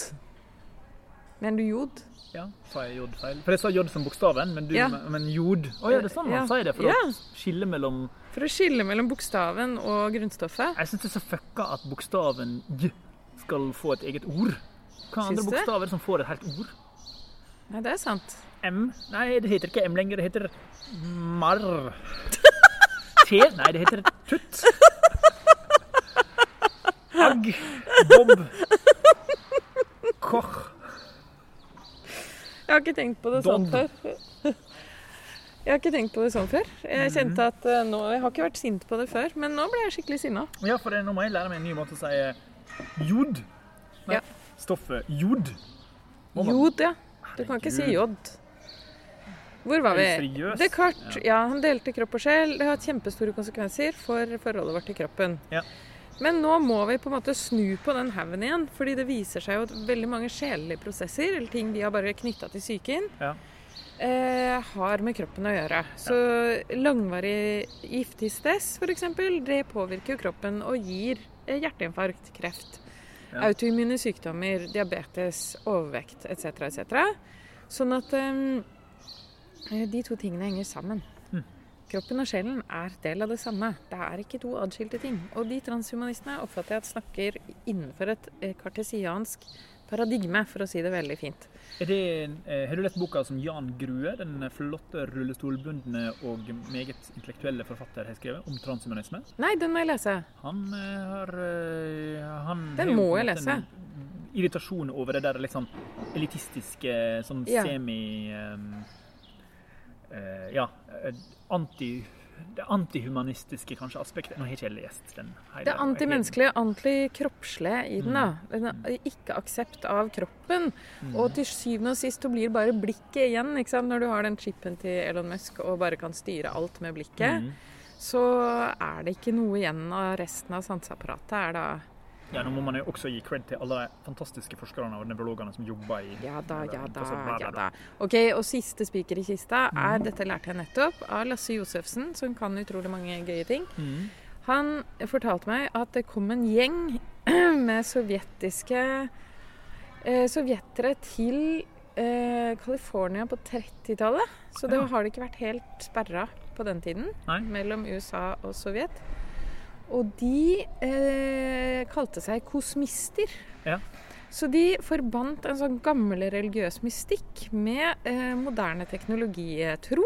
Mener du jod? Ja, sa jeg jod feil? For jeg sa jod som bokstaven, men, du, Ja. men jod Å ja, det er sånn man Ja. sier det, for Ja. å skille mellom For å skille mellom bokstaven og grunnstoffet. Jeg syns det er så fucka at bokstaven j skal få et eget ord. Hva Syns andre du? bokstaver som får et helt ord? Nei, det er sant. M? Nei, det heter ikke M lenger, det heter marr. T? Nei, det heter tutt. Agg. Bob. Koch. Jeg har ikke tenkt på det sånn Don. før. Jeg har ikke tenkt på det sånn før. Jeg kjente at eh, nå, jeg har ikke vært sint på det før, men nå ble jeg skikkelig sinna. Ja, for det- nå må jeg lære meg en ny måte å si eh, jod. Nei, Ja. stoffet jod. Må man- Jod, ja. Du kan ikke si jod. Hvor Er var du vi? seriøs? Descartes. Ja, han delte kropp og sjel. Det har hatt kjempestore konsekvenser for forholdet vårt til kroppen. Ja. Men nå må vi på en måte snu på den haugen igjen, fordi det viser seg jo at veldig mange sjelelige prosesser, eller ting vi har bare knytta til psyken, Ja. eh, har med kroppen å gjøre. Så langvarig giftig stress, f.eks., det påvirker jo kroppen og gir eh, hjerteinfarkt, kreft, Ja. autoimmune sykdommer, diabetes, overvekt etc., etc. Sånn at eh, de to tingene henger sammen. Kroppen og sjelen er del av det samme. Det er ikke to adskilte ting. Og de transhumanistene oppfatter jeg at snakker innenfor et eh, kartesiansk paradigme, for å si det veldig fint. Er det, eh, har du lest boka som Jan Grue, den flotte rullestolbundne og meget intellektuelle forfatter, har skrevet om transhumanisme? Nei, den må jeg lese. Han eh, har eh, han Den har jo må på en jeg måte en Irritasjon over det der liksom elitistiske, sånn Ja. semi ehm, eh, Ja, eh, anti det antihumanistiske kanskje aspektet. Nå har ikke jeg lest den. hele- Det antimenneskelige, antikroppslige i den, da. Den ikke aksept av kroppen. Og til syvende og sist så blir det bare blikket igjen, ikke sant. Når du har den chipen til Elon Musk og bare kan styre alt med blikket, Mhm. så er det ikke noe igjen av resten av sanseapparatet, er da Ja, nå må man jo også gi cred til alle de fantastiske forskerne og nevrologene som jobber i Ja da, ja da, Altså, bla, bla, ja bla. da. Ok, og siste spiker i kista er Dette lærte jeg nettopp av Lasse Josefsen, som kan utrolig mange gøye ting. Mhm. Han fortalte meg at det kom en gjeng med sovjetiske eh, sovjetere til eh, California på 30-tallet. Så det Ja. har det ikke vært helt sperra på den tiden Nei. mellom USA og Sovjet. Og de eh, kalte seg kosmister. Ja. Så de forbandt en sånn gammel religiøs mystikk med eh, moderne teknologitro.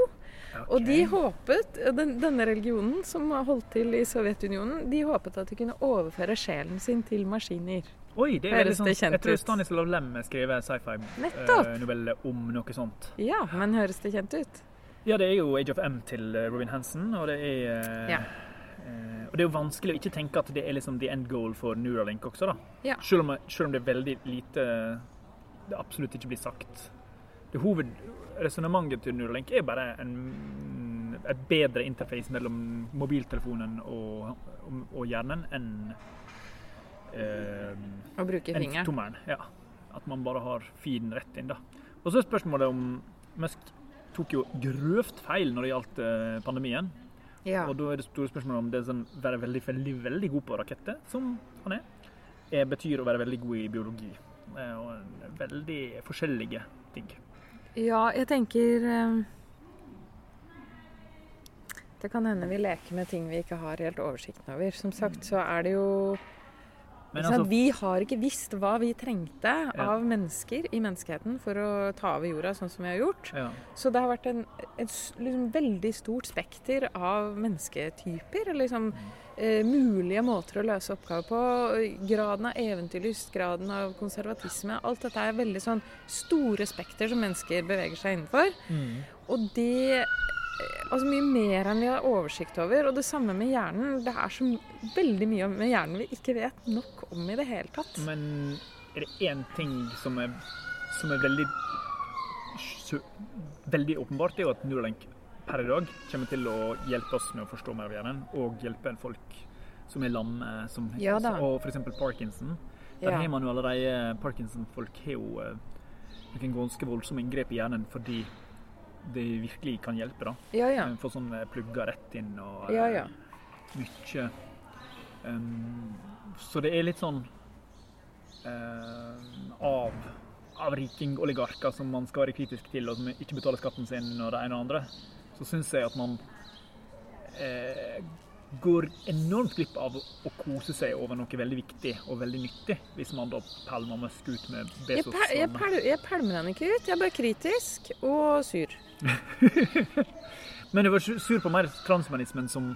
Og de Ok. håpet, eh, den, denne religionen som holdt til i Sovjetunionen, de håpet at de kunne overføre sjelen sin til maskiner. Oi, det er Høres veldig sånn, det kjent jeg tror ut? Stanislav Lem skrev Nettopp. sci-fi-novelle om noe sånt. Ja, men høres det kjent ut? Ja, det er jo Age of M til eh, Robin Hansen, og det er eh, Ja. eh, Og det er jo vanskelig å ikke tenke at det er liksom the end goal for Neuralink også, da. Ja. Selv, om, selv om det er veldig lite Det absolutt ikke blir sagt. Det Hovedresonnementet til Neuralink er bare en, et bedre interface mellom mobiltelefonen og, og, og hjernen enn eh, Å bruke enn fingeren. tommelen. Ja. At man bare har feeden rett inn, da. Og så er spørsmålet om Musk tok jo grøvt feil når det gjaldt eh, pandemien. Ja. Og da er det store spørsmålet om det som å være veldig, veldig, veldig god på raketter, som han er, eh, betyr å være veldig god i biologi. Eh, Og en veldig forskjellige ting. ja, jeg tenker eh, Det kan hende vi leker med ting vi ikke har helt oversikten over. Som sagt så er det jo Men ikke sant, altså, Vi har ikke visst hva vi trengte Ja. av mennesker i menneskeheten for å ta over jorda sånn som vi har gjort. altså, ja. Så det har vært en, et s- liksom, veldig stort spekter av mennesketyper. eller Liksom, eh, mulige måter å løse oppgaver på. Graden av eventyrlyst, graden av konservatisme. Alt dette er veldig sånn store spekter som mennesker beveger seg innenfor. Mm. Og det eh, Altså mye mer enn vi har oversikt over. Og det samme med hjernen. Det er så m- veldig mye om- med hjernen vi ikke vet nok om i det hele tatt. Men er det én ting som er, som er veldig så, Veldig åpenbart, det er jo at Neuralink per i dag kommer til å hjelpe oss med å forstå mer av hjernen, og hjelpe folk som er lamme, som altså, Ja da. og f.eks. parkinson. Der Ja. har man jo allerede Parkinson-folk har jo eh, noen ganske voldsomme inngrep i hjernen fordi det virkelig kan hjelpe. da. Ja, ja. Få sånne plugger rett inn og eh, Ja, ja. mye. Um, så det er litt sånn um, av, av riking-oligarker som man skal være kritisk til, og som ikke betaler skatten sin og det ene og andre, så syns jeg at man eh, går enormt glipp av å, å kose seg over noe veldig viktig og veldig nyttig, hvis man da pælmer Musk ut med Jeg, Bezos. pel, jeg, som- pel, jeg pælmer han ikke ut. Jeg er bare kritisk og sur. Men jeg var sur- sur på mer transhumanismen som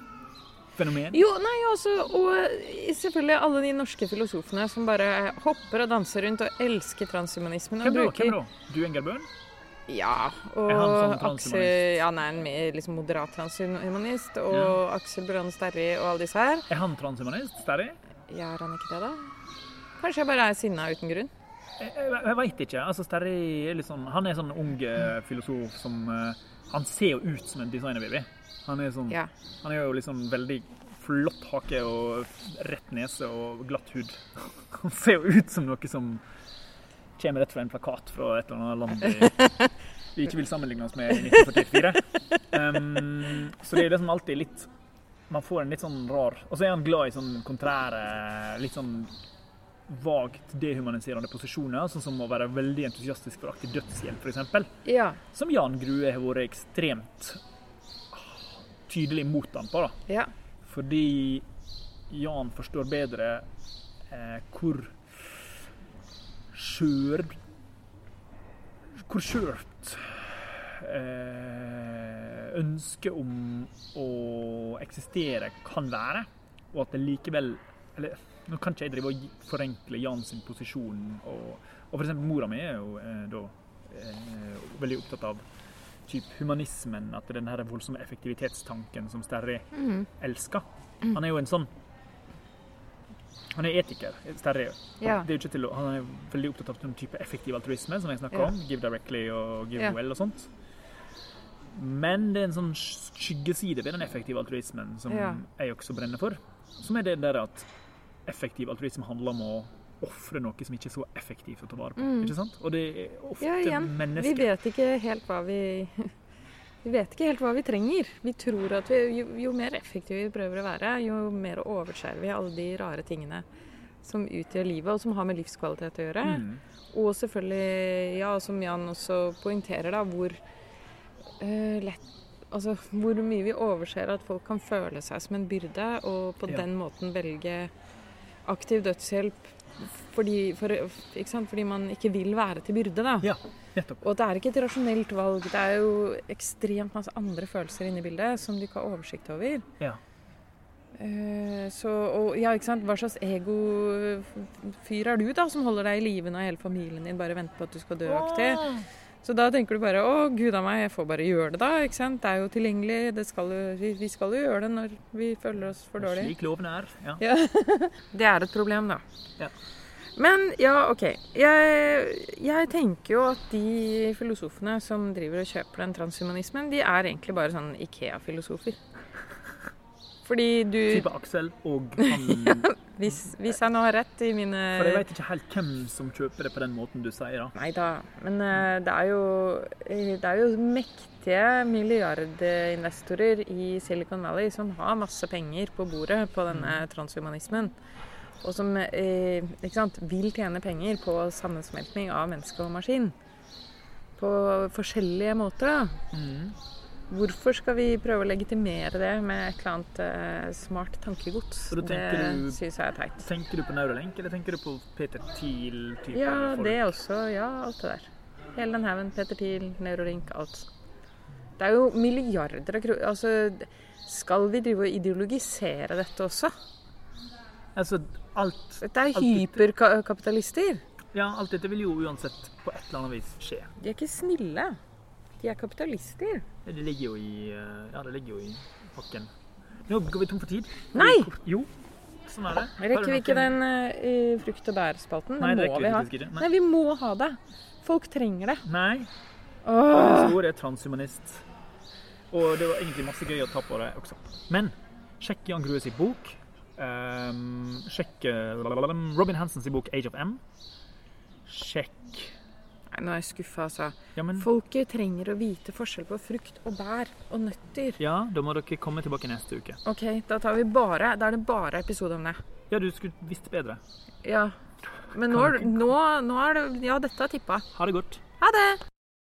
fenomen. Jo, nei, også, og eh, selvfølgelig alle de norske filosofene som bare hopper og danser rundt og elsker transhumanismen. Hvem Og da? Hvem bruker, da? Du Engelbøen? Ja, og Er han sånn transhumanist? Aksel, ja, han er en mer liksom, moderat transhumanist. Og Ja. Aksel Brann Sterri og alle disse her. Er han transhumanist? Sterri? Ja, er han ikke det, da? Kanskje jeg bare er sinna uten grunn. Jeg, jeg, jeg veit ikke. Altså, Sterri er litt sånn Han er sånn ung eh, filosof som eh, Han ser jo ut som en designer, Vivi. Han er sånn Ja. Han er jo liksom veldig flott hake og rett nese og glatt hud. Han ser jo ut som noe som kommer rett fra en plakat fra et eller annet land vi, vi ikke vil sammenligne oss med i 1944. Um, så det er jo det som alltid er litt Man får en litt sånn rar Og så er han glad i sånn kontrære, litt sånn vagt dehumaniserende posisjoner, sånn som å være veldig entusiastisk for aktiv dødshjelp, f.eks Ja. som Jan Grue har vært ekstremt ah, tydelig mot han på. da. ja. Fordi Jan forstår bedre eh, hvor skjør Hvor skjørt eh, ønsket om å eksistere kan være, og at det likevel Eller nå kan ikke jeg drive og gi- forenkle Jan sin posisjon. Og, og for eksempel mora mi er jo eh, da eh, veldig opptatt av typ humanismen, at det er den her voldsomme effektivitetstanken som Sterri Mhm. elsker. Mm. Han er jo en sånn Han er etiker, Sterri. Ja. Det er jo ikke til å, han er veldig opptatt av den type effektiv altruisme som jeg snakker Ja. om. Give directly og give Ja. well og sånt. Men det er en sånn sk- skyggeside ved den effektive altruismen som Ja. jeg også brenner for. Som er det der at effektiv altruisme handler om å ofre noe som ikke er så effektivt å ta vare på. Mm. Ikke sant? Og det er ofte ja igjen. Vi mennesker vet ikke helt hva vi Vi vet ikke helt hva vi trenger. Vi tror at vi, jo, jo mer effektive vi prøver å være, jo mer overskjærer vi alle de rare tingene som utgjør livet, og som har med livskvalitet å gjøre. Mm. Og selvfølgelig, ja, som Jan også poengterer, da, hvor eh, lett Altså hvor mye vi overser at folk kan føle seg som en byrde, og på Ja. den måten velge aktiv dødshjelp fordi, for, ikke sant? fordi man ikke vil være til byrde, da. Ja, nettopp. Og det er ikke et rasjonelt valg. Det er jo ekstremt masse andre følelser inne i bildet som du ikke har oversikt over. Ja. Eh, så, og, ja, ikke sant? Hva slags ego-fyr er du, da, som holder deg i live når hele familien din bare venter på at du skal dø? aktig? Så da tenker du bare å, gud a meg, jeg får bare gjøre det, da. ikke sant? Det er jo tilgjengelig. Det skal jo, vi, vi skal jo gjøre det når vi føler oss for dårlige. Slik loven er. Ja. Ja. det er et problem, da. Ja. Men ja, OK. Jeg, jeg tenker jo at de filosofene som driver og kjøper den transhumanismen, de er egentlig bare sånn Ikea-filosofer. Fordi du Type Aksel og han Hvis, hvis jeg nå har rett i mine For jeg vet ikke helt hvem som kjøper det på den måten du sier, da. Nei da. Men eh, det er jo, eh, det er jo mektige milliardinvestorer i Silicon Valley som har masse penger på bordet på denne Mm. transhumanismen. Og som eh, ikke sant, vil tjene penger på sammensmeltning av menneske og maskin. På forskjellige måter, da. Hvorfor skal vi prøve å legitimere det med et eller annet eh, smart tankegods? Så da Det tenker du- syns jeg er teit. Tenker du på Neuralink, eller tenker du på Peter Thiel-type? Ja, folk? det også. Ja, alt det der. Hele den haugen. Peter Thiel, Neurolink, alt. Det er jo milliarder av kroner Altså, skal vi drive og ideologisere dette også? Altså, alt, Dette er Alt hyperkapitalister. ja, alt dette vil jo uansett på et eller annet vis skje. De er ikke snille. De er kapitalister. Det ligger jo i eh, Ja, det ligger jo i pakken. Nå går vi tom for tid. Nei! Jo, sånn er det. Har du Rekker vi ikke noen- den eh, frukt- og bærspalten? Nei, Den det må rekker vi vi ha. faktisk ikke. Nei. Nei, vi må ha det. Folk trenger det. Nei. Åh. Store er transhumanist. Og det var egentlig masse gøy å ta på det også. Men sjekk Jan Grue sin bok. Ehm, sjekk eh, lalalala, Robin Hansens bok 'Age of M'. Sjekk Nei, nå er jeg skuffa, altså. Ja, men Folket trenger å vite forskjell på frukt og bær og nøtter. ja, da må dere komme tilbake neste uke. Ok, da tar vi bare Da er det bare episode om det. Ja, du skulle visst bedre. Ja. Men nå, nå, nå er det Ja, dette er tippa. Ha det godt. Ha det!